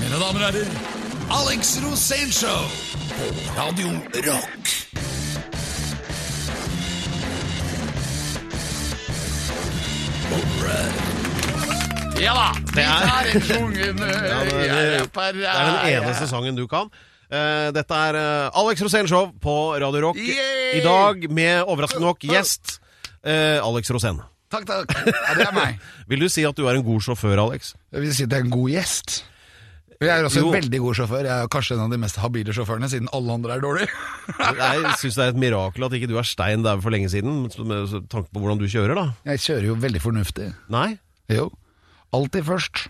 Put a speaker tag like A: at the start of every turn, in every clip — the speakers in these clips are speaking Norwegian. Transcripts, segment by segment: A: Mine damer og herrer, Alex Rosénshow på Radio Rock.
B: Ja da! Det
C: er-
B: er kongen.
C: det er-
B: Jeg er per
C: Det er den eneste sangen du kan. Eh, dette er eh, Alex Rosén Show på Radio Rock. I
B: Yay!
C: dag med overraskende nok gjest eh, Alex Rosén.
B: Takk, takk. Ja, det er meg.
C: Vil du si at du er en god sjåfør, Alex?
B: Jeg vil si at det er en god gjest. Men Jeg er også
C: Jo.
B: en veldig god sjåfør. Jeg er kanskje en av de mest habile sjåførene, siden alle andre er dårlige.
C: Jeg syns det er et mirakel at ikke du er stein der for lenge siden, med- med tanke på hvordan du kjører, da.
B: Jeg kjører jo veldig fornuftig.
C: Nei.
B: Jo. Alltid først.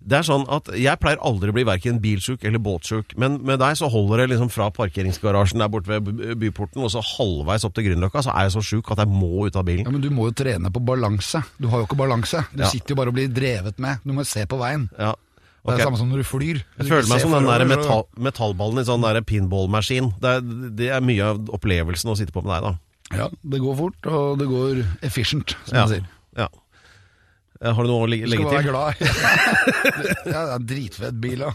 C: Det er sånn at Jeg pleier aldri å bli verken bilsjuk eller båtsjuk, men med deg så holder det liksom fra parkeringsgarasjen der borte ved by- byporten og så halvveis opp til Grünerløkka, så er jeg så sjuk at jeg må ut av bilen.
B: Ja, Men du må jo trene på balanse. Du har jo ikke balanse. Du
C: Ja.
B: sitter jo bare og blir drevet med. Du må se på veien.
C: Ja.
B: Det er
C: ok.
B: det samme som når du flyr.
C: Jeg føler meg som den der metall,
B: metall...
C: metallballen i sånn der pinballmaskin. Det, er- det er mye av opplevelsen å sitte på med deg, da.
B: Ja, det går fort, og det går efficient, som man sier.
C: ja. Eh, Har du noe å legge,
B: Du skal
C: legge
B: bare
C: til?
B: være glad. ja, det er en dritfett bil, da.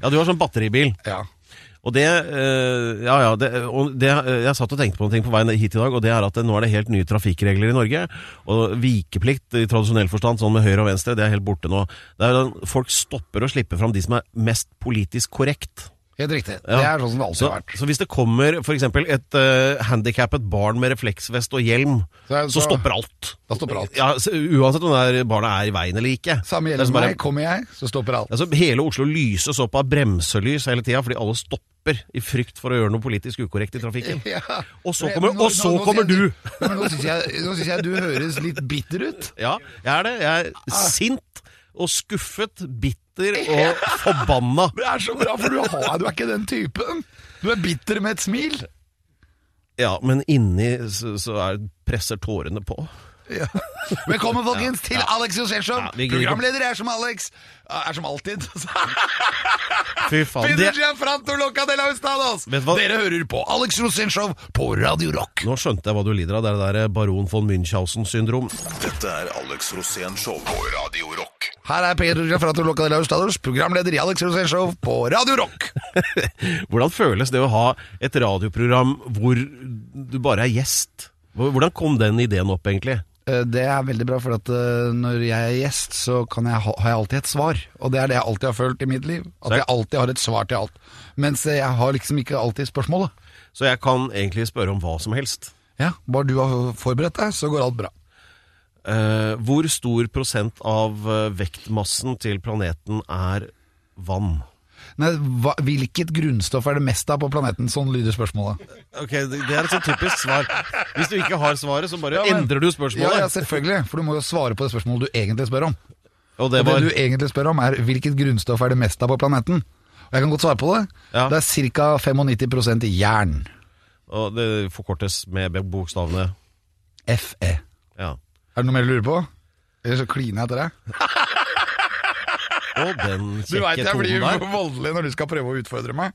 C: Ja, du har sånn batteribil.
B: Ja.
C: Og det, eh, ja, ja, det, og det eh, Jeg satt og tenkte på noe på veien hit i dag, og det er at det, nå er det helt nye trafikkregler i Norge. Og vikeplikt i tradisjonell forstand, sånn med høyre og venstre, det er helt borte nå. Det er, jo den- folk stopper å slippe fram de som er mest politisk korrekt.
B: Helt riktig.
C: Ja.
B: Det er sånn som det alltid
C: Så,
B: har vært.
C: så hvis det kommer f.eks. et uh, handikappet barn med refleksvest og hjelm,
B: Så er
C: så,
B: det så-
C: stopper alt.
B: Da stopper alt.
C: Ja, så, uansett om det er barna er i veien eller ikke.
B: Samme
C: Det er
B: gjelder
C: som bare-
B: meg. Kommer jeg, så stopper alt.
C: Altså, hele Oslo lyses opp av bremselys hele tida fordi alle stopper i frykt for å gjøre noe politisk ukorrekt i trafikken.
B: Ja.
C: Og så
B: Men-
C: kommer,
B: men nå-
C: og så
B: nå- nå
C: kommer
B: synes
C: du!
B: jeg- Men Nå syns jeg, nå synes jeg du høres litt bitter ut.
C: Ja, jeg er det. Jeg
B: Ah.
C: er sint og skuffet, bitter og forbanna.
B: Det er så bra, for du, har, du er ikke den typen. Du er bitter med et smil.
C: Ja, men inni så, så er, presser tårene på.
B: Velkommen, folkens, til Alex Josefsson.
C: Ja, vi gidder ikke-
B: Programleder er som Alex. Er som alltid.
C: Fy faen. Det,
B: Finuccia Frantoloca de la Ustados.
C: Vet du hva?
B: Dere hører på Alex Rosénshow på Radio Rock.
C: Nå skjønte jeg hva du lider av, det er det der baron von Münchhausen-syndrom.
A: Dette er Alex Rosén Show på Radio Rock.
B: Her er Finuccia Frantoloca de la Ustados, programleder i Alex Rosénshow på Radio Rock.
C: Hvordan føles det å ha et radioprogram hvor du bare er gjest? Hvor- Hvordan kom den ideen opp, egentlig?
B: Eh, Det er veldig bra, for at eh, når jeg er gjest, så kan jeg ha, har jeg alltid et svar. Og det er det jeg alltid har følt i mitt liv. At
C: Så-
B: jeg alltid har et svar til alt. Mens eh, jeg har liksom ikke alltid spørsmålet.
C: Så jeg kan egentlig spørre om hva som helst.
B: Ja, Bare du har forberedt deg, så går alt bra.
C: Eh, hvor stor prosent av eh, vektmassen til planeten er vann?
B: Nei, hva, Hvilket grunnstoff er det mest av på planeten? Sånn lyder spørsmålet.
C: Ok, Det det er et så typisk svar. Hvis du ikke har svaret, så bare
B: Ja, men-
C: endrer du
B: Ja,
C: spørsmålet.
B: ja, selvfølgelig, for du må jo svare på det spørsmålet du egentlig spør om.
C: Og det
B: Og
C: var
B: det du egentlig spør om er hvilket grunnstoff er det mest av på planeten? Og jeg kan godt svare på det.
C: Ja.
B: Det er ca. 95 jern.
C: Og det forkortes med bokstavene
B: FE.
C: Ja.
B: Er det noe mer du lurer på? Eller så kliner jeg etter deg.
C: Og den kjekke tonen der.
B: voldelig når du skal prøve å utfordre meg.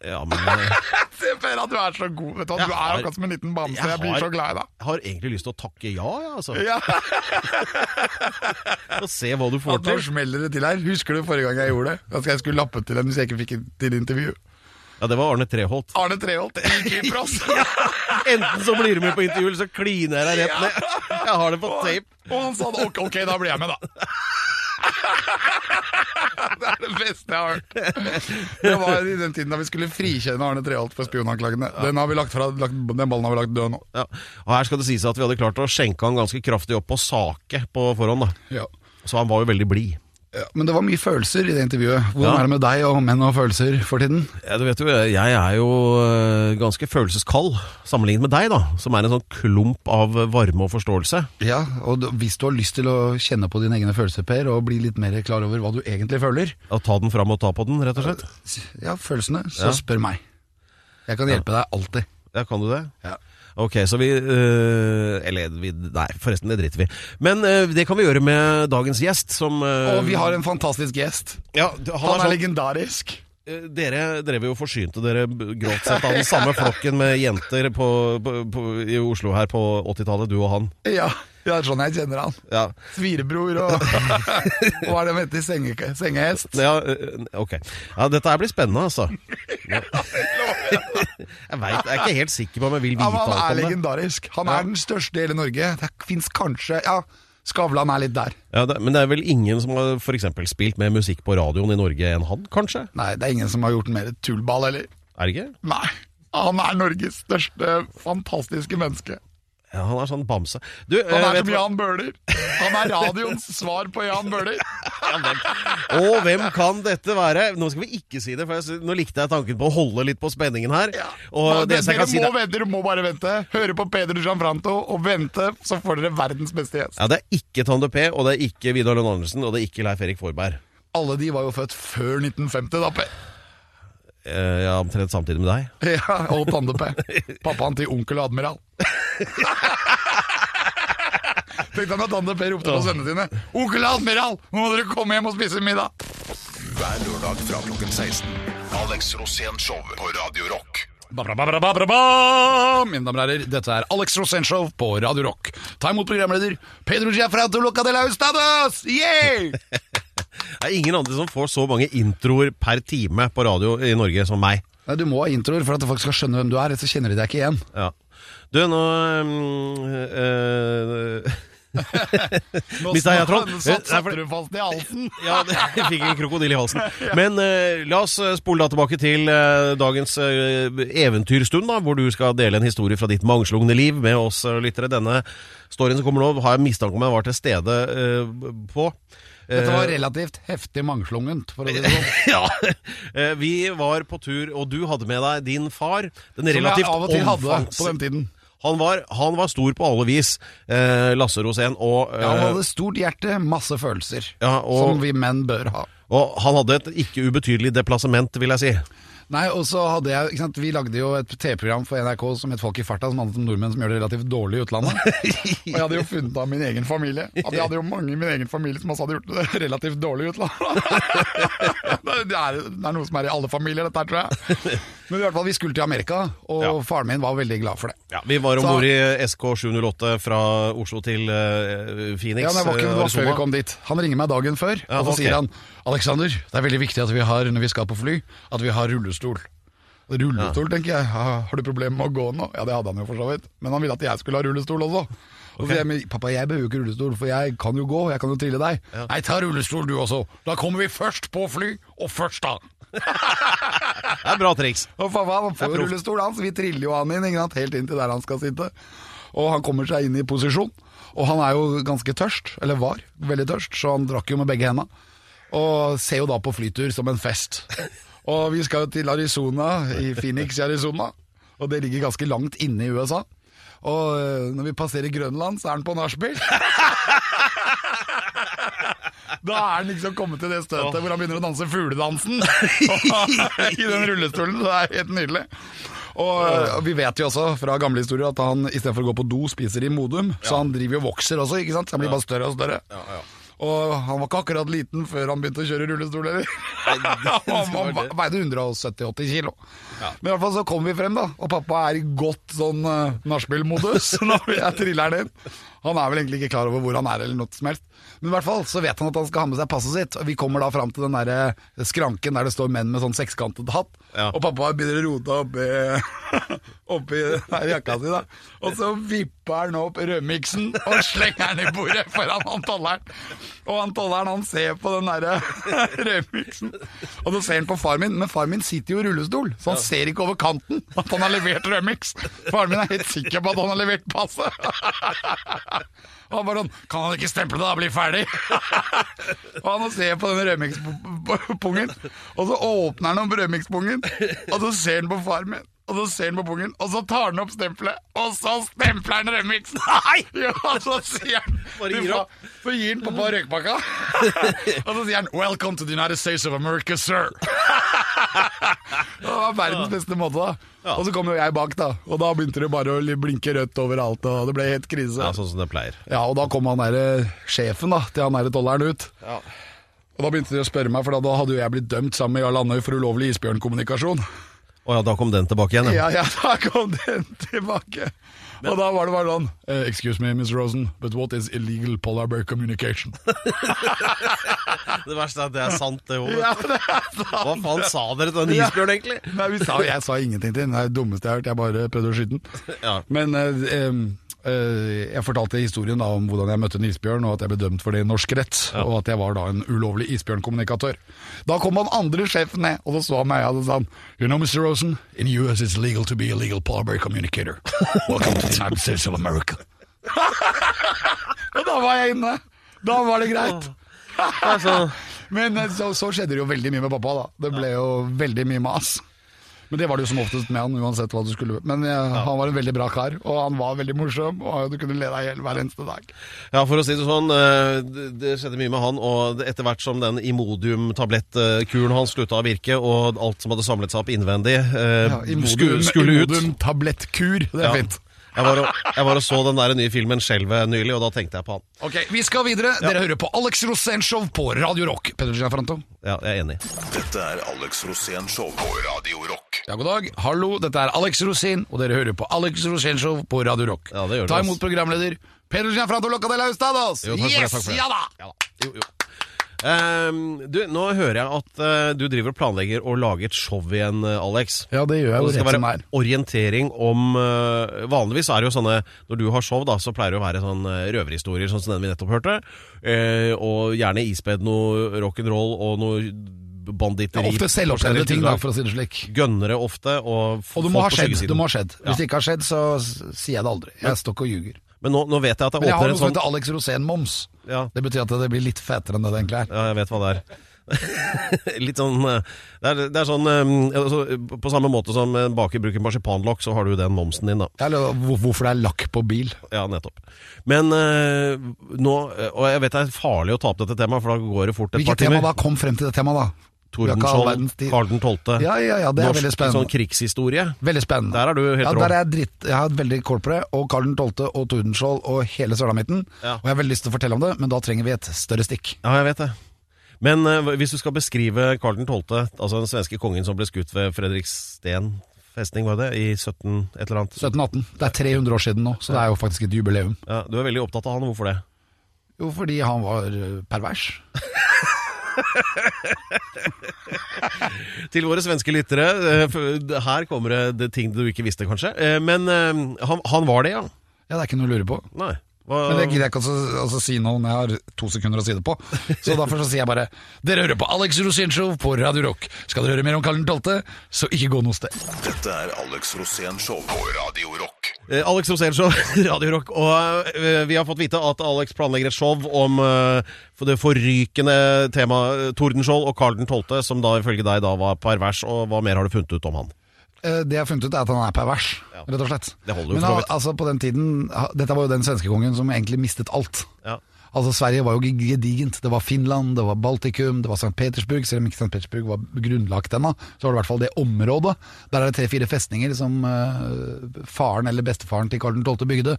C: Ja, men eh,
B: Se, Per, at du er så god. Vet du,
C: Jeg har-
B: som en liten bamse.
C: Jeg har-
B: glad i deg.
C: jeg har egentlig lyst til å takke ja, jeg, altså.
B: Ja,
C: Og se hva du får
B: Nå
C: til.
B: smeller det til her. Husker du forrige gang jeg gjorde det? At jeg skulle lappe til en hvis jeg ikke fikk til intervju.
C: Ja, det var Arne Treholt.
B: Arne Treholt i Kypros.
C: Enten så blir du med på intervju, eller så kliner jeg deg rett ned. Jeg har det på tape.
B: Og han sa ok, ok, da blir jeg med, da. Det er det beste jeg har hørt. Det var i den tiden da vi skulle frikjenne Arne Treholt for spionanklagene. Den, har vi lagt fra, lagt, den ballen har vi lagt død nå.
C: Ja. Og her skal det sies at vi hadde klart å skjenke han ganske kraftig opp på sake på forhånd, da.
B: Ja.
C: Så han var jo veldig blid.
B: Ja, men det var mye følelser i det intervjuet. Hvordan
C: Ja.
B: er det med deg og menn og følelser for tiden?
C: Ja, du vet jo, jeg er jo øh, ganske følelseskald sammenlignet med deg, da. Som er en sånn klump av varme og forståelse.
B: Ja, og d- hvis du har lyst til å kjenne på dine egne følelser, Per, og bli litt mer klar over hva du egentlig føler,
C: Å ta den fram og ta på den, rett og slett.
B: s- ja, følelsene,
C: Ja.
B: så spør meg. Jeg kan hjelpe deg alltid.
C: Ja, kan du det?
B: Ja.
C: Ok, så vi øh, Eller vi Nei, forresten, det driter vi i. Men øh, det kan vi gjøre med dagens gjest, som øh,
B: Og vi har en fantastisk gjest.
C: ja, han, er
B: Han er
C: sånn
B: legendarisk.
C: Eh, Dere drev jo og forsynte dere b- grovt sett av den samme flokken med jenter på, på, på, i Oslo her på 80-tallet, du og han.
B: Ja, Ja, det er sånn jeg kjenner han.
C: Ja.
B: Svirebror og Hva er det de heter? Senge, sengehest?
C: Ja, øh, ok. Ja, dette her blir spennende, altså. Ja. Jeg vet, jeg er ikke helt sikker på om jeg vil vite
B: Ja, men han
C: alt
B: er
C: om det.
B: legendarisk. Han er
C: Ja.
B: den største i hele Norge. Det fins kanskje Ja, Skavlan er litt der.
C: Ja, det. Men det er vel ingen som har for eksempel spilt med musikk på radioen i Norge enn han, kanskje?
B: Nei, det er ingen som har gjort mer tullball, eller?
C: Er det ikke?
B: Nei. Han er Norges største fantastiske menneske.
C: Ja, han er sånn bamse. Du, øh,
B: Han er
C: vet
B: som
C: du hva?
B: Jan Bøhler. Han er radioens svar på Jan Bøhler.
C: Å, hvem kan dette være? Nå skal vi ikke si det, for jeg, sy- nå likte jeg tanken på å holde litt på spenningen her.
B: Ja.
C: Og
B: Men
C: det,
B: dere
C: som jeg
B: dere
C: kan si det,
B: må vente, dere må bare vente. Høre på Peder Gianfranto og vente, så får dere verdens beste gjest.
C: ja, det er ikke Tande P, og det er ikke Vidar Lund Andersen, og det er ikke Leif Erik Forberg.
B: Alle de var jo født før 1950, da, Per.
C: Eh, ja, omtrent samtidig med deg.
B: Ja, og Tande-P. Pappaen til onkel Admiral. Tenk deg når Tande-P ropte på sønnene sine. 'Onkel Admiral, nå må dere komme hjem og spise middag!'
A: Hver lørdag fra klokken 16. Alex Rosén Show på Radio Rock.
B: Ba-ba-ba-ba-ba-ba! Mine damer og herrer, dette er Alex Rosenshov på Radio Rock. Ta imot programleder Pedro Giafrato Loca de la Ustados! Yeah!
C: Det er ingen andre som får så mange introer per time på radio i Norge som meg.
B: Nei, du må ha introer for at folk skal skjønne hvem du er, ellers så kjenner de deg ikke igjen.
C: Ja. Du, nå mm, eh,
B: Nå
C: Mista jeg tråden? Eh,
B: satt- Satte du fast i halsen?
C: Ja, det- jeg fikk en krokodille i halsen. Men eh, la oss eh, spole da tilbake til eh, dagens eh, eventyrstund, da, hvor du skal dele en historie fra ditt mangslungne liv med oss eh, lyttere. Denne storyen som kommer nå, har jeg mistanke om jeg var til stede eh, på. Eh,
B: Dette var relativt heftig mangslungent, for å si det sånn.
C: Ja, Eh, Vi var på tur, og du hadde med deg din far. Den
B: Som jeg
C: relativt
B: av og til hadde
C: omfangs-
B: på den tiden.
C: Han var, han var stor på alle vis, eh, Lasse Rosén, og, eh,
B: Ja, han hadde stort hjerte, masse følelser.
C: Ja, og-
B: Som vi menn bør ha.
C: og han hadde et ikke ubetydelig deplassement, vil jeg si.
B: Nei, og så hadde jeg, ikke sant, Vi lagde jo et TV-program for NRK som het Folk i farta, som handlet om nordmenn som gjør det relativt dårlig i utlandet. Og jeg hadde jo funnet av min egen familie. At jeg hadde jo mange i min egen familie som også hadde gjort det relativt dårlig i utlandet. det, er, det er noe som er i alle familier, dette her, tror jeg. Men i hvert fall, vi skulle til Amerika, og
C: Ja.
B: faren min var veldig glad for det.
C: Ja, vi var om
B: Så-
C: bord i SK708 fra Oslo til eh, Phoenix.
B: Ja, men det var ikke det
C: eh,
B: var før vi
C: Arizona.
B: kom dit. Han ringer meg dagen før,
C: Ja,
B: og så
C: ok.
B: sier han Alexander, det er veldig viktig at vi har, når vi skal på fly, at vi har rullestol. Rullestol, tenker jeg. Ha- Har du problemer med å gå nå? Ja, det hadde han jo for så vidt. Men han ville at jeg skulle ha rullestol også. Og så sier jeg, men pappa, jeg behøver jo ikke rullestol, for jeg kan jo gå, jeg kan jo trille deg. Nei, ta rullestol du også. Da kommer vi først på fly, og først da.
C: Det er et bra triks.
B: Og pappa han får jo rullestol hans, vi triller jo han inn ikke sant? helt inn til der han skal sitte. Og han kommer seg inn i posisjon. Og han er jo ganske tørst, eller var veldig tørst, så han drakk jo med begge henda. Og ser jo da på flytur som en fest. Og vi skal jo til Arizona, i Phoenix i Arizona. Og det ligger ganske langt inne i USA. Og øh, når vi passerer Grønland, så er han på nachspiel. Da er han liksom kommet til det støtet hvor han begynner å danse fugledansen. I den rullestolen. Det er helt nydelig. Og eh, vi vet jo også fra gamle historier at han istedenfor å gå på do, spiser i Modum. Så han driver jo og vokser også, ikke sant. Så han blir bare større og større. Og han var ikke akkurat liten før han begynte å kjøre rullestol, eller? Han
C: var
B: var-
C: det.
B: veide 170-80 kilo. Men i hvert fall så kom vi frem, da. Og pappa er i godt sånn uh, nachspiel-modus når jeg triller han inn. Han er vel egentlig ikke klar over hvor han er eller noe som helst. Men i hvert fall så vet han at han skal ha med seg passet sitt. Og vi kommer da fram til den der eh, skranken der det står menn med sånn sekskantet hatt.
C: Ja.
B: Og pappa begynner å rote oppi, oppi der jakka si, da. Og så vipper han opp rødmiksen og slenger den i bordet foran han tolleren. Og han tolleren han ser på den derre rødmiksen. Og så ser han på far min, men far min sitter jo i rullestol, så han ser ikke over kanten at han har levert rødmiks. Faren min er helt sikker på at han har levert passet. Og han bare sånn Kan han ikke stemple det, da? Bli ferdig! og han ser på den rødmikspungen, og så åpner han opp rødmikspungen, og så ser han på far min. Og så ser han på pungen, og så tar han opp stempelet, og så stempler han remiksen! Nei! Ja, og så sier han
C: Bare
B: Du
C: gir
B: fa-
C: opp.
B: Så gir han pappa røykpakka, og så sier han 'Welcome to the United States of America, sir'. Det var verdens beste måte, da.
C: Ja.
B: Og så kom jo jeg bak, da. Og da begynte det bare å blinke rødt overalt, og det ble helt krise.
C: Ja, sånn som det pleier.
B: Ja, og da kom han der, eh, sjefen da, til han der tolleren ut. Og da begynte de å spørre meg, for da, da hadde jo jeg blitt dømt sammen med Jarl Andøy for ulovlig isbjørnkommunikasjon.
C: Å ja, da kom den tilbake igjen. Ja.
B: Ja, ja, da kom den tilbake. Og da var det bare sånn eh, Excuse me, Miss Rosen, but what is illegal polar bear communication?
C: Det verste er at det er sant, det òg.
B: ja, det er sant.
C: Hva faen sa dere til den
B: Ja.
C: isbjørnen, egentlig?
B: Nei, vi sa, jeg sa ingenting til den. Det er det dummeste jeg har hørt. Jeg bare prøvde å skyte den.
C: Ja.
B: Men eh, em, eh, jeg fortalte historien da om hvordan jeg møtte en isbjørn, og at jeg ble dømt for det i norsk rett, og at jeg var da en ulovlig isbjørnkommunikatør. Da kom han andre sjefen ned, og så så han meg og så sa han, You know, Mr. Rosen, in the US it's legal to be a legal polar bear communicator. Welcome to the United States of America. og da var jeg inne. Da var det greit.
C: Altså,
B: Men eh, så, så skjedde det jo veldig mye med pappa da Det ble jo veldig mye mas Men det var det jo som oftest med han Uansett hva du skulle Men eh, han var en veldig bra kar Og han var veldig morsom Og du kunne le deg i hjel hver eneste dag
C: Ja, for å si det sånn, eh, det- det skjedde mye med han, og det- etter hvert som den Imodium-tablettkuren hans slutta å virke, og alt som hadde samlet seg opp innvendig, eh,
B: ja,
C: skulle, skulle ut
B: Imodum tablettkur Det er
C: Ja.
B: fint
C: Jeg var, og, jeg var og så den der nye filmen 'Skjelvet' nylig, og da tenkte jeg på han.
B: Ok, vi skal videre Dere hører på Alex Rosén Show på Radio Rock Petter Gianfranto
C: Ja, jeg er enig.
A: Dette er Alex Rosén Show på Radio Rock.
B: Ja, god dag Hallo, dette er Alex Rosén Og dere hører på Alex Rosén Show på Radio Rock
C: Ja, det gjør det,
B: Ta
C: ass.
B: imot programleder Petter Gianfranto Locadella Ustados
C: Jo, takk for det,
B: Yes,
C: takk for det.
B: ja da
C: Ja da. Jo, jo. Ehm, du, nå hører jeg at eh, du driver og planlegger å lage et show igjen, eh, Alex.
B: Ja, det gjør jeg
C: Og
B: jo
C: det skal
B: rett som
C: være
B: er
C: orientering om eh, Vanligvis er det jo sånne Når du har show, da, så pleier det å være sånn eh, røverhistorier, sånn som den vi nettopp hørte. eh, og gjerne ispedd noe rock'n'roll og noe
B: Ja,
C: banditteri.
B: ofte selvoppskjedde ting, da, for å si det slik.
C: Gønnere ofte. Og, f-
B: Og det må,
C: folk
B: ha
C: på
B: skjedd,
C: skyggesiden.
B: det må ha skjedd.
C: Ja.
B: Hvis det ikke har skjedd, så s- sier jeg det aldri. Jeg står ikke og ljuger.
C: Men nå, nå vet jeg at det
B: Men jeg har
C: åpner
B: noe
C: en
B: som
C: sånn
B: heter Alex Rosén-moms.
C: ja.
B: Det betyr at det blir litt fetere enn det det egentlig er.
C: Ja, jeg vet hva det er. Litt sånn eh, Det er, det er sånn eh, altså, På samme måte som en baker bruker marsipanlokk, så har du den momsen din, da.
B: Eller hvor- hvorfor det er lakk på bil.
C: Ja, nettopp. Men eh, nå Og jeg vet det er farlig å ta opp dette temaet, for da går det fort et
B: Hvilket
C: par
B: tema
C: timer.
B: da? Kom frem til det temaet, da. Vi har ikke all
C: Tordenskjold,
B: verdens tid.
C: Karl 12.
B: Ja, ja, ja, det er veldig
C: Norsk sånn
B: spennende.
C: krigshistorie.
B: Veldig spennende.
C: Der er du helt
B: ja,
C: rå.
B: der er jeg dritt. Jeg har et veldig kort på det, og Karl 12. og Tordenskjold og hele Sølamitten.
C: Ja.
B: Og jeg har veldig lyst til å fortelle om det, men da trenger vi et større stikk.
C: Ja, jeg vet det. Men eh, hvis du skal beskrive Karl 12., altså den svenske kongen som ble skutt ved Fredriksten festning, var det? I 17 et eller annet?
B: 1718. Det er 300 år siden nå, så det er jo faktisk et jubileum.
C: Ja, du er veldig opptatt av han, hvorfor det?
B: Jo, fordi han var eh, pervers.
C: Til våre svenske lyttere, eh, for her kommer det- det ting du ikke visste kanskje. Eh, Men eh, han, han var det, ja.
B: Ja, det er ikke noe å lure på.
C: Nei. Hva,
B: Men det gidder jeg ikke å altså, si nå når jeg har to sekunder å si det på. Så derfor så sier jeg bare Dere hører på Alex Rosénshow på Radio Rock. Skal dere høre mer om Karl 12., så ikke gå noe sted.
A: Dette er Alex Rosén Show på Radio Rock.
C: Eh, Alex Roselshow, Radio Rock. Og eh, vi har fått vite at Alex planlegger et show om eh, for det forrykende temaet eh, Tordenskjold og Karl 12., som da ifølge deg da var pervers. Og hva mer har du funnet ut om han?
B: Eh, Det jeg har funnet ut, er at han er pervers,
C: Ja.
B: rett og slett.
C: Det holder jo
B: Men
C: for så
B: han,
C: vidt.
B: altså, på den tiden ha- Dette var jo den svenske kongen som egentlig mistet alt.
C: Ja.
B: Altså Sverige var jo gedigent. Det var Finland, det var Baltikum, det var St. Petersburg. Selv om ikke St. Petersburg var grunnlagt ennå, så var det i hvert fall det området. Der er det tre-fire festninger som eh, faren eller bestefaren til Karl 12. bygde,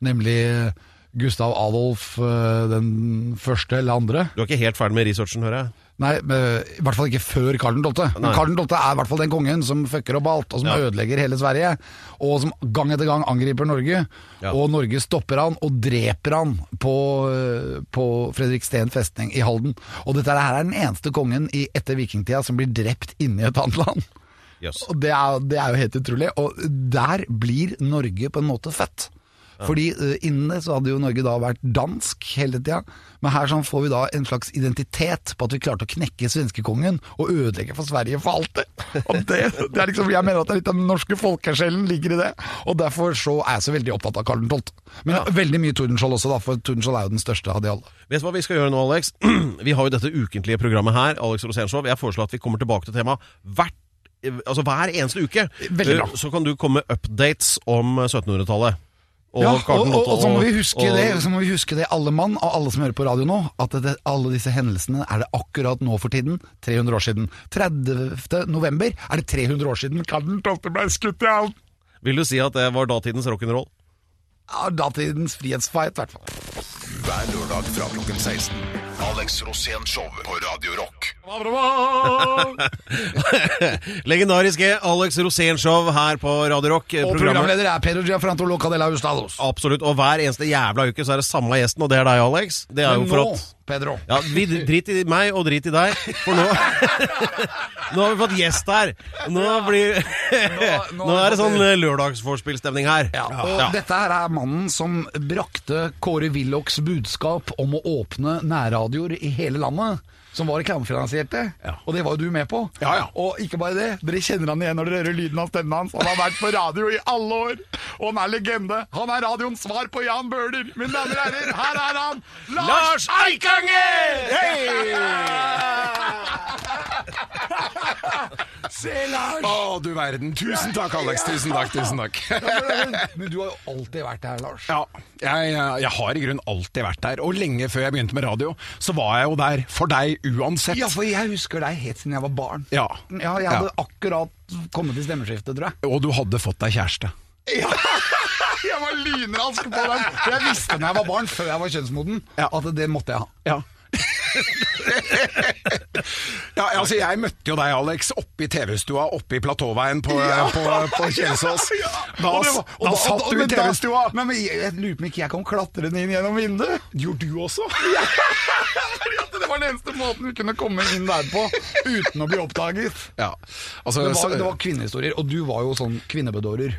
B: nemlig eh, Gustav Adolf eh, den første eller andre.
C: Du er ikke helt ferdig med researchen, hører jeg?
B: Nei, men i hvert fall ikke før Karl 12. Men
C: Nei.
B: Karl 12. er i hvert fall den kongen som fucker opp alt, og som
C: Ja.
B: ødelegger hele Sverige. Og som gang etter gang angriper Norge.
C: Ja.
B: Og Norge stopper han og dreper han på, eh, på Fredriksten festning i Halden. Og dette her er den eneste kongen i etter vikingtida som blir drept inni et annet land.
C: Jøss.
B: Og det er, det er jo helt utrolig. Og der blir Norge på en måte født. Fordi eh, innen det så hadde jo Norge da vært dansk hele tida. Men her sånn får vi da en slags identitet på at vi klarte å knekke svenskekongen og ødelegge for Sverige for alltid. Og det, det er liksom, jeg mener at det er litt av den norske folkesjelen ligger i det. Og derfor så er jeg så veldig opptatt av Karl 12. Men veldig mye Tordenskjold også, da, for Tordenskjold er jo den største av de alle.
C: Vet du hva vi skal gjøre nå, Alex? Vi har jo dette ukentlige programmet her, Alex Rosénshow. Jeg foreslår at vi kommer tilbake til temaet hvert Altså hver eneste uke.
B: Veldig bra.
C: Eh, Så kan du komme med updates om eh, 1700-tallet. Og
B: ja,
C: Karl
B: og,
C: den
B: og,
C: åtte
B: og så må vi huske
C: og-
B: det, så må vi huske det alle mann og alle som hører på radio nå, at det, alle disse hendelsene er det akkurat nå for tiden, 300 år siden. 30. november er det 300 år siden Karl 12. ble skutt i Halden.
C: Vil du si at det var datidens rock'n'roll?
B: Ja, datidens frihetsfight, i hvert fall.
A: Hver lørdag fra klokken 16. Alex Rosén Show på Radio Rock.
C: Legendariske Alex Rosén-show her på Radio Rock.
B: Og
C: Programmet-
B: programleder er Pedro Giafranto Locadella Ustados.
C: Absolutt. Og hver eneste jævla uke så er det samme gjesten, og det er deg, Alex. Det er jo
B: Men nå,
C: for at
B: Pedro
C: ja, vi Drit i meg og drit i deg, for nå Nå har vi fått gjest her. Nå blir
B: nå-
C: Nå er det sånn eh, lørdagsvorspillstemning her.
B: Ja, og
C: Ja.
B: dette her er mannen som brakte Kåre Willochs budskap om å åpne nærradioer i hele landet. Som var reklamefinansierte, og det var jo du med på.
A: Ja, ja.
B: Og ikke bare det, dere kjenner han igjen når dere hører lyden av stemmen hans. Han har vært på radio i alle år, og han er legende. Han er radioens svar på Jan Bøhler. Mine damer og herrer, her er han! Lars Eikanger! Se, Lars!
A: Å, du verden. Tusen takk, Alex. Tusen takk. tusen takk
B: Men du har jo alltid vært her, Lars.
A: Ja, jeg, eh, jeg har i grunnen alltid vært der. Og lenge før jeg begynte med radio, så var jeg jo der for deg uansett.
B: Ja, for jeg husker deg helt siden jeg var barn.
A: Ja.
B: Ja, jeg hadde akkurat kommet til stemmeskiftet, tror jeg.
A: Og du hadde fått deg kjæreste.
B: Jeg var lynrask på den! Jeg visste da jeg var barn, før jeg var kjønnsmoden,
A: Ja.
B: at det måtte jeg ha.
A: Ja. ja, altså Jeg møtte jo deg, Alex, oppe i TV-stua oppe i Platåveien på, eh,
B: eh,
A: på, på Kjelsås. Da,
B: Og det var- og
A: da
B: og-
A: satt
B: og-
A: du i
B: men da-
A: TV-stua.
B: Men, men jeg, jeg lurer på om ikke jeg kom klatrende inn gjennom vinduet.
A: Gjorde du også?
B: Fordi at Det var den eneste måten vi kunne komme inn der på uten å bli oppdaget.
A: Ja. Altså,
B: Det var,
A: så-
B: det var kvinnehistorier, og du var jo sånn kvinnebedårer.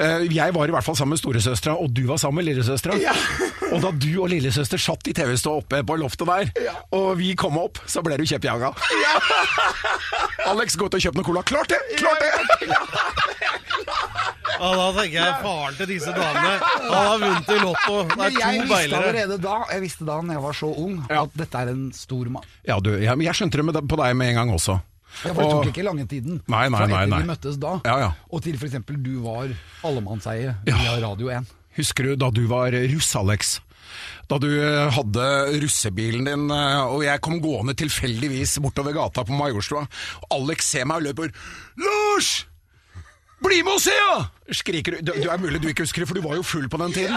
A: Eh, Jeg var i hvert fall sammen med storesøstera, og du var sammen med lillesøstera.
B: Ja.
A: og da du og lillesøster satt i TV-stua oppe på loftet der, og vi kom opp, så ble du kjeppjaga. Alex, gå ut og kjøp noe cola. Klart det! Klart det!
C: Ja, da tenker jeg faren til disse damene. Han har vunnet i Lotto. Det
B: Men
C: er
B: jeg
C: to
B: visste
C: beilere.
B: allerede da Jeg visste da når jeg var så ung, at dette er en stor mann.
A: Ja, du, jeg, jeg skjønte det med, på deg med en gang også.
B: Ja, for Det
A: Og-
B: tok ikke lange tiden
A: Nei, nei,
B: fra
A: nei,
B: etter
A: nei.
B: vi møttes da,
A: Ja, ja.
B: og til f.eks. du var allemannseie via Radio 1.
A: Husker du da du var russ, Alex? Da du eh, hadde russebilen din, eh, og jeg kom gående tilfeldigvis bortover gata på Majorstua. og Alex ser meg og løper 'Lars! Bli med og se, ja!' skriker du. Det det er mulig du ikke husker det, for du var jo full på den tiden.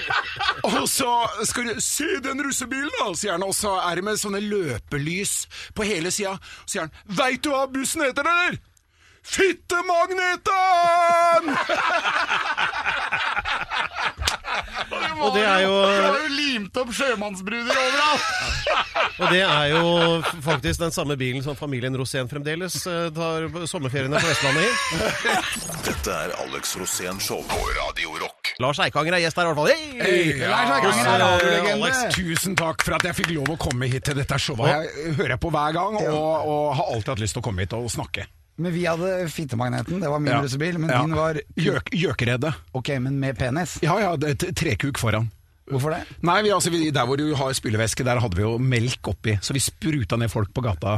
A: Og så skal du 'Se den russebilen', da, sier han. Og så er det med sånne løpelys på hele sida. Så sier han 'Veit du hva bussen heter, eller?' 'Fittemagneten'!
C: Og det er jo
B: jo limt opp sjømannsbruder overalt!
C: Og det er jo f- faktisk den samme bilen som familien Rosén fremdeles eh, tar sommerferiene på Vestlandet i.
D: Dette er Alex Rosén Show på Radio Rock.
C: Lars Eikanger er gjest her i hvert fall. Hey!
B: Lars Eikanger
C: Ja,
B: er radiolegende!
C: Alex.
A: Tusen takk for at jeg fikk lov å komme hit til dette showet. Jeg hører jeg på hver gang, og, og har alltid hatt lyst til å komme hit og snakke.
B: Men vi hadde fittemagneten, det var min
A: Ja.
B: russebil, men
A: Ja.
B: din var
A: Gjøk, Gjøkeredet.
B: Ok, men med penis.
A: Ja ja, det, t- trekuk foran.
B: Hvorfor det?
A: Nei, vi, altså, vi, Der hvor du har spylevæske, der hadde vi jo melk oppi, så vi spruta ned folk på gata.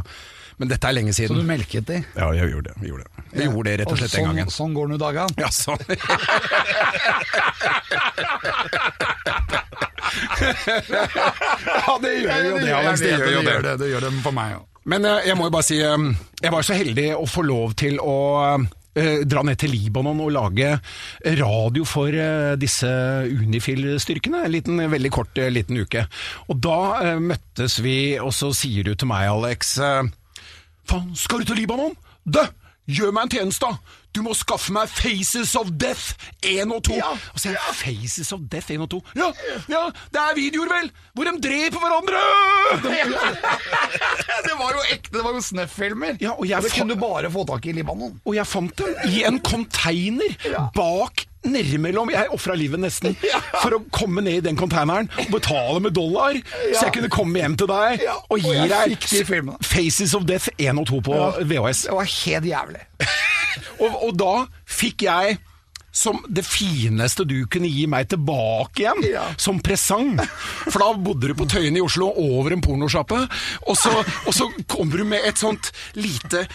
A: Men dette er lenge
B: Så du
A: siden.
B: melket de?
A: Ja, jeg gjorde det. Vi gjorde det, vi gjorde det rett og slett den
B: sånn,
A: gangen.
B: Sånn går nå dagene.
A: Ja, sånn. ja, det gjør jo det, Alex. Det gjør jo det.
B: det, det gjør det for meg òg.
A: Men eh, jeg må jo bare si eh, Jeg var så heldig å få lov til å eh, dra ned til Libanon og lage radio for eh, disse Unifil-styrkene. En liten, veldig kort eh, liten uke. Og da eh, møttes vi, og så sier du til meg, Alex eh, Faen, skal du til Libanon? Du, gjør meg en tjeneste, da! Du må skaffe meg Faces of Death 1 og 2. Og så er det Faces of Death 1 og 2. Ja, ja, det er videoer, vel! Hvor de dreper hverandre!
B: Det var jo ekte, det var jo snøff-filmer!
A: Ja, og jeg
B: det
A: fa-
B: kunne du bare få tak i i Libanon.
A: Og jeg fant den i en container bak nærmellom. Jeg ofra livet nesten for å komme ned i den containeren og betale med dollar, så jeg kunne komme hjem til deg
B: Ja, og
A: og gi
B: jeg
A: deg
B: fikk de filmene.
A: Faces of Death 1 og 2 på VHS.
B: Det var helt jævlig.
A: Og, og da fikk jeg som det fineste du kunne gi meg tilbake igjen,
B: Ja.
A: som presang. For da bodde du på Tøyen i Oslo, over en pornosjappe, og så, og så kommer du med et sånt lite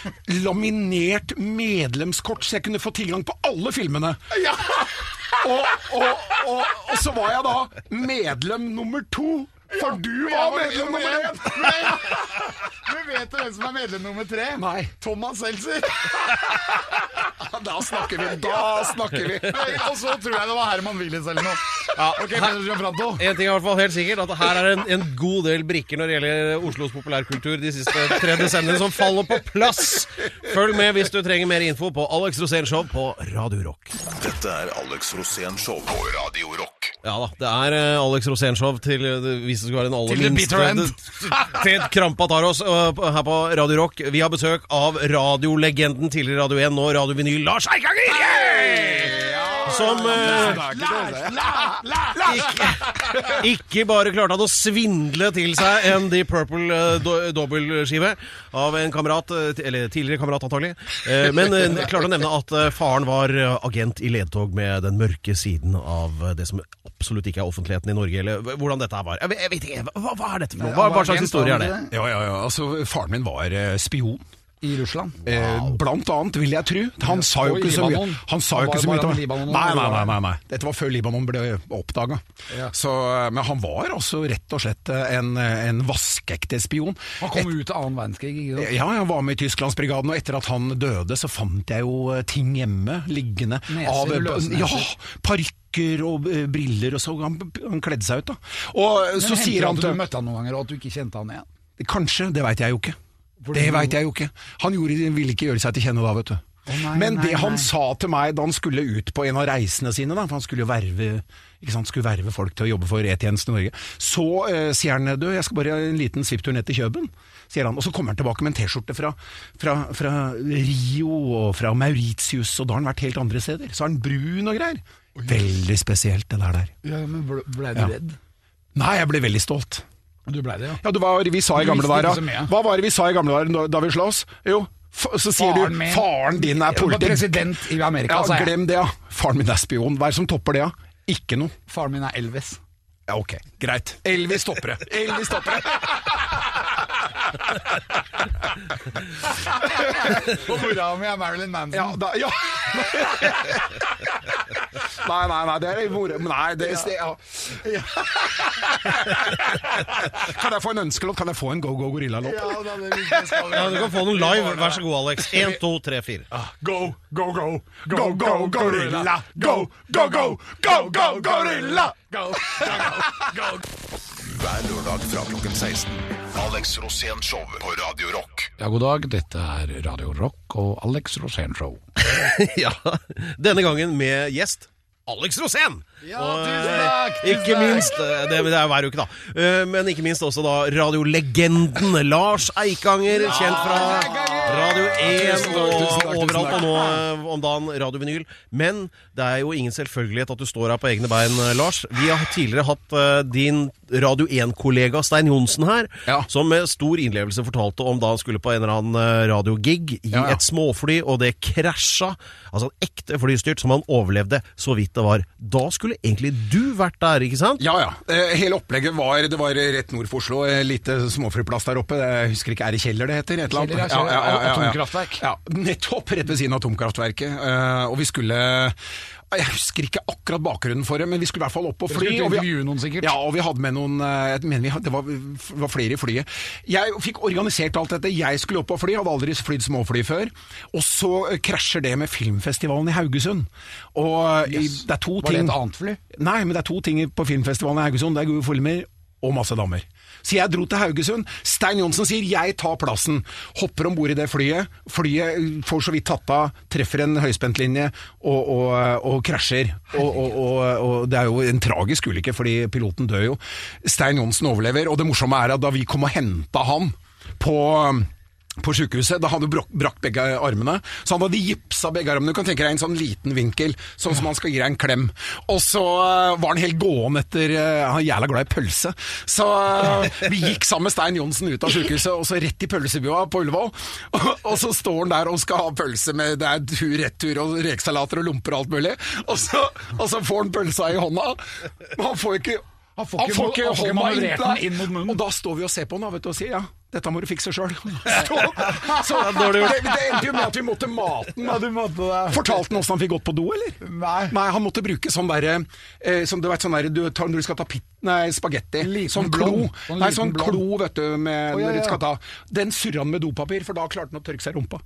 A: laminert medlemskort, så jeg kunne få tilgang på alle filmene. Og, og, og, og så var jeg da medlem nummer to. For du
B: Jeg
A: var medlem nummer én!
B: Du vet jo hvem som er medlem nummer tre?
A: Nei.
B: Thomas Seltzer.
A: Ja, Da snakker vi! Da snakker vi!
B: Og så tror jeg det var Herman Willis eller noe.
C: Ja,
B: Ok,
C: her,
B: Peder Gianfranto.
C: en ting er i hvert fall helt sikkert, at her er en, en god del brikker når det gjelder Oslos populærkultur de siste tre desennene som faller på plass. Følg med hvis du trenger mer info på Alex Rosén Show på Radio Rock.
D: Dette er Alex Rosén Show på Radio Rock.
C: Ja da, det er eh, Alex Rosén Show til eh, det- hvis det skulle være den aller
B: Til the
C: minste
B: bitter end.
C: det- Til krampa tar oss eh, på- her på Radio Rock. Vi har besøk av radiolegenden tidligere Radio 1, nå Radio Vinyl, Lars Eikanger! Som eh, ikke bare klarte han å svindle til seg en Deep Purple eh, do- dobbeltskive av en kamerat, eh, ti- eller tidligere kamerat antagelig, eh, men eh, klarte å nevne at eh, faren var eh, agent i ledtog med den mørke siden av eh, det som absolutt ikke er offentligheten i Norge, eller h- hvordan dette her var. Jeg vet- Jeg vet ikke, hva, hva er dette for noe? Hva, hva slags historie er det?
A: Ja, ja, ja. Altså, faren min var eh, spion.
B: I Russland.
A: Eh, blant annet, vil jeg tro. Han sa
B: Og
A: jo
B: i
A: ikke så mye.
B: Libanon.
A: Han sa
B: Han
A: jo
B: var
A: ikke
B: jo
A: så mye
B: bare
A: om
B: i Libanon og
A: Nei, nei, nei,
B: Libanon.
A: nei, nei. Dette var før Libanon ble oppdaga.
B: Ja.
A: Men han var altså rett og slett en, eh, en vaskeekte spion.
B: Han kom ut av annen verdenskrig. ikke sant?
A: Ja, jeg var med i Tysklandsbrigaden, og etter at han døde, så fant jeg jo eh, ting hjemme liggende. eh,
B: Neser, løsneser.
A: ja, parykker og eh, briller og så. Han, han kledde seg ut, da. Og eh,
B: Men
A: så
B: hendte
A: sier
B: det
A: han
B: at
A: til
B: Du møtte han noen ganger, og at du ikke kjente han igjen.
A: Kanskje, det veit jeg jo ikke.
B: Fordi-
A: Det veit jeg jo ikke. Han gjorde, ville ikke gjøre seg til kjenne da, vet du.
B: nei,
A: Men
B: nei,
A: det han
B: nei.
A: sa til meg da han skulle ut på en av reisene sine, da, for han skulle jo verve, ikke sant, skulle verve folk til å jobbe for E-tjenesten i Norge, så eh, sier han du, jeg skal bare ha en liten svipptur ned til Kjøben. Sier han, og så kommer han tilbake med en T-skjorte fra, fra, fra Rio og fra Mauritius, og da har han vært helt andre steder. Så er han brun og greier. Veldig spesielt det der der.
B: Ja, men ble, ble du
A: Ja.
B: redd?
A: Nei, jeg ble veldig stolt.
B: Du ble det, ja.
A: Ja, det var, vi sa i
B: Du
A: gamle
B: visste
A: dager
B: ikke så mye.
A: Hva var det vi sa i gamle dager da, da vi sloss? Jo, f så sier
B: Faren
A: du
B: min.
A: Faren din er
B: Jeg var
A: politi.
B: president altså, i Amerika,
A: Ja,
B: sa jeg.
A: glem det, ja. Faren min er spion. Hva er det som topper det, ja? Ikke noe.
B: Faren min er Elvis.
A: Ja, ok, greit. Elvis topper det. Elvis topper det.
B: Og mora mi er Marilyn Manson.
A: Ja, da, ja. Nei, nei, nei, det er moro. Nei, det er ja. Kan jeg få en ønskelåt? Kan jeg få en Go Go Gorilla-låt?
B: Ja, da, det visste jeg skal vi.
C: Ja, du kan få den live, vær så god Alex. 1, 2, 3, 4.
A: Ah, Go, go, go. Go, go, gorilla. Go, go, go. Go, go, gorilla.
D: Hver lørdag fra klokken 16. Alex Rosén Show på Radio Rock.
B: Ja, god dag. Dette er Radio Rock og Alex Rosén Show.
C: Ja, denne gangen med gjest. Alex Rosén!
B: Ja,
C: Og,
B: tusen
C: eh,
B: takk, tusen
C: Ikke
B: takk.
C: minst, eh, det, det er hver uke da Eh, Men ikke minst også da radiolegenden Lars Eikanger Kjent fra Radio 1
A: Tusen takk, tusen takk,
C: og
A: tusen
C: overalt
A: takk.
C: Og nå eh, om dagen Radio Vinyl Men det er jo ingen selvfølgelighet at du står her på egne bein, eh, Lars Vi har tidligere hatt eh, din Radio 1-kollega Stein Jonsen her
A: Ja.
C: Som med stor innlevelse fortalte om da han skulle på en eller annen eh, radiogig I
A: Ja, ja.
C: et småfly, og det krasja. Altså en ekte flystyrt som han overlevde så vidt det var. Da skulle egentlig du vært der, ikke sant?
A: Ja, ja. Eh, Hele opplegget var Det var rett nord for Oslo. eh, Lite småflyplass der oppe. Jeg husker ikke, er det Kjeller det heter? Et eller annet.
B: Kjeller, ja, Kjeller. Atomkraftverk.
A: Ja, nettopp rett ved siden av atomkraftverket. Eh, Og vi skulle jeg husker ikke akkurat bakgrunnen for det, men vi skulle i hvert fall opp og
B: Dere
A: fly.
B: skulle til
A: og vi-
B: intervjue noen sikkert.
A: Ja, og vi hadde med noen eh, jeg mener vi hadde, Det var, var flere i flyet. Jeg fikk organisert alt dette. Jeg skulle opp og fly, hadde aldri flydd småfly før. Og så eh, krasjer det med filmfestivalen i Haugesund. Og eh, det er to
B: Var det
A: ting
B: et annet fly?
A: Nei, men det er to ting på filmfestivalen i Haugesund. Det er gode filmer og masse damer. Så jeg dro til Haugesund. Stein Johnsen sier 'jeg tar plassen'. Hopper om bord i det flyet. Flyet eh, får så vidt tatt av, treffer en høyspentlinje og, og, eh, og krasjer. Og, og, og, og det er jo en tragisk ulykke, fordi piloten dør jo. Stein Johnsen overlever, og det morsomme er at da vi kom og henta han på på sykehuset, da hadde han brak, brakk begge armene, så han hadde gipsa begge armene. Du kan tenke deg en sånn liten vinkel, sånn som han skal gi deg en klem. Og så eh, var han helt gåen etter eh, Han er jævla glad i pølse. Så eh, vi gikk sammen med Stein Johnsen ut av sykehuset, og så rett i pølsebua på Ullevål. Og, og så står han der og skal ha pølse med det er tur, retur og rekesalater og lomper og alt mulig. Og så, og så får han pølsa i hånda. Men han får ikke
B: Han får ikke, han får ikke manøvrert
A: manøvrert
B: den inn mot munnen.
A: Og da står vi og ser på den da, vet du, og sier ja, dette må du fikse sjøl. Så, så
C: Ja, dårlig
A: det,
C: gjort.
A: det endte jo med at vi måtte mate den.
B: Ja, du måtte det.
A: Fortalte han åssen han fikk gått på do, eller?
B: Nei.
A: han måtte bruke sånn derre eh, Som du vet, sånn derre du tar når du skal ta pit, nei, spagetti.
B: Liten
A: Sånn klo.
B: blond. Sånn
A: nei,
B: liten
A: sånn
B: blond.
A: klo, vet du, med,
B: Å, ja, ja.
A: når du skal ta. Den surra han med dopapir, for da klarte han å tørke seg i rumpa.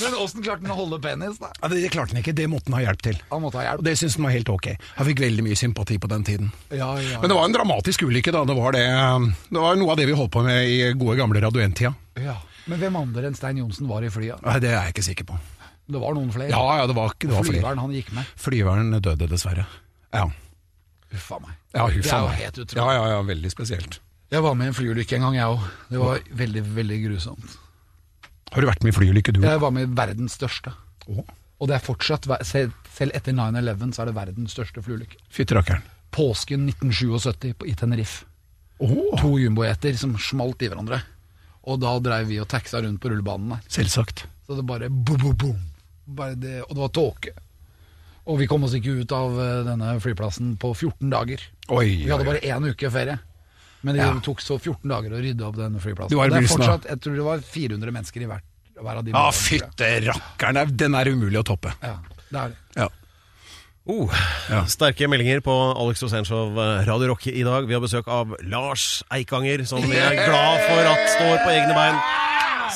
B: Men åssen klarte han å holde penis, da?
A: Ja, det, det klarte han ikke, det måtte han ha hjelp til.
B: Han måtte ha
A: Og
B: hjelp.
A: det syntes han var helt ok. Han fikk veldig mye sympati på den tiden.
B: Ja, ja,
A: Men det var en dramatisk ulykke, da. Det var, det, eh, det var noe av det vi holdt på med i gode gamle Radio 1-tida.
B: ja. Men hvem andre enn Stein Johnsen var i flyet?
A: Nei, Det er jeg ikke sikker på.
B: Det var noen flere.
A: Ja, ja, det var, det var flere.
B: Flyveren han gikk med.
A: Flyveren døde, dessverre. Ja,
B: Huff a meg.
A: ja huff
B: Det er
A: a
B: jo
A: meg.
B: helt utrolig.
A: Ja, ja, ja, veldig spesielt.
B: Jeg var med i en flyulykke en gang, jeg òg. Det var veldig, veldig grusomt.
A: Har du vært med i flyulykke, du?
B: Jeg var med i verdens største.
A: Å,
B: Og det er fortsatt, ver- selv selv etter 9-11 så er det verdens største flyulykke.
A: Fytti rakkeren.
B: Påsken 1977 på, i Tenerife.
A: Å,
B: To jumboeter som smalt i hverandre. Og da dreiv vi og taxa rundt på rullebanen der.
A: selvsagt.
B: Så det bare boom, boom, boom. Bare det, Og det var tåke. Og vi kom oss ikke ut av eh, denne flyplassen på 14 dager.
A: Oi,
B: Vi
A: oi,
B: hadde
A: oi.
B: bare én uke ferie. Men det
A: Ja.
B: tok så 14 dager å rydde opp denne flyplassen.
A: Det var i
B: Og det er
A: begynnelsen, da.
B: fortsatt, jeg tror det var 400 mennesker i hver, hver av de
A: Ja,
B: båtene, tror jeg.
A: fytte rakkeren. det er- Den er umulig å toppe.
B: Ja, det er det.
A: Ja.
C: Oh, Sterke meldinger på Alex Rosenshov eh, Radio Rock i dag. Vi har besøk av Lars Eikanger, som jeg er glad for at står på egne bein.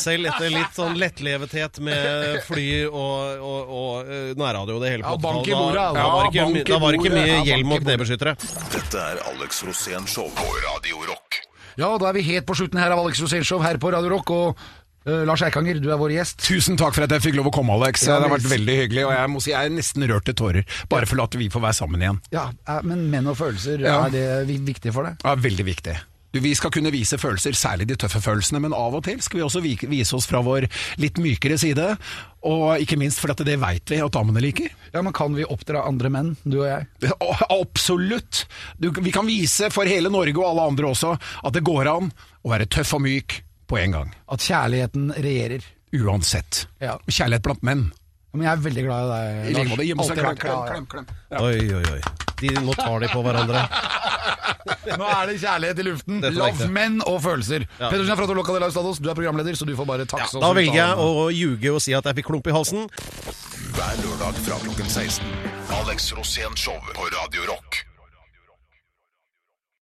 C: Selv etter litt sånn lettlevethet med fly og, og, og eh, nærradio og det hele.
B: Ja,
C: på
B: bank i
C: 80-tallet,
B: bordet,
C: Da,
B: altså.
C: da, var
A: Ja,
C: det ikke,
A: bank i
C: my- da var det ikke
A: bordet.
C: mye
A: Ja,
C: hjelm og
A: bank i
C: knebeskyttere.
D: Dette er Alex Rosén Show på Radio Rock.
B: Ja, da er vi helt på slutten her av Alex Rosénshow her på Radio Rock. Og eh, Lars Eikanger, du er vår gjest.
A: Tusen takk for at jeg fikk lov å komme, Alex.
B: Ja,
A: det har
B: vel.
A: vært veldig hyggelig, og jeg må si jeg er nesten rørt til tårer. Bare for at vi får være sammen igjen.
B: Ja, eh, Men menn og følelser,
A: Ja.
B: er det vi- viktig for deg?
A: Det er veldig viktig. Du, vi skal kunne vise følelser, særlig de tøffe følelsene, men av og til skal vi også vi- vise oss fra vår litt mykere side. Og ikke minst fordi at det veit vi at damene liker.
B: Ja, men Kan vi oppdra andre menn, du og jeg?
A: Det- å, Absolutt! Du, vi kan vise for hele Norge og alle andre også at det går an å være tøff og myk på en gang.
B: At kjærligheten regjerer.
A: Uansett.
B: Ja.
A: Kjærlighet blant menn.
B: Ja, Men jeg er veldig glad i
A: I
B: deg,
A: like måte. Gi meg
B: Alltid
A: en klem,
B: vært-
A: klem,
B: ja, ja.
A: klem, klem.
C: Oi, oi, oi. De, nå tar de på hverandre.
B: Nå er det kjærlighet i luften.
C: Dette likte
B: Love,
C: jeg.
B: menn og følelser. Pettersen er fra Toloca de la Stados, du er programleder, så du får bare takse
C: Da velger jeg å ljuge og si at jeg fikk klump i halsen.
D: Hver lørdag fra klokken 16. Alex Rosén Show på Radio Rock.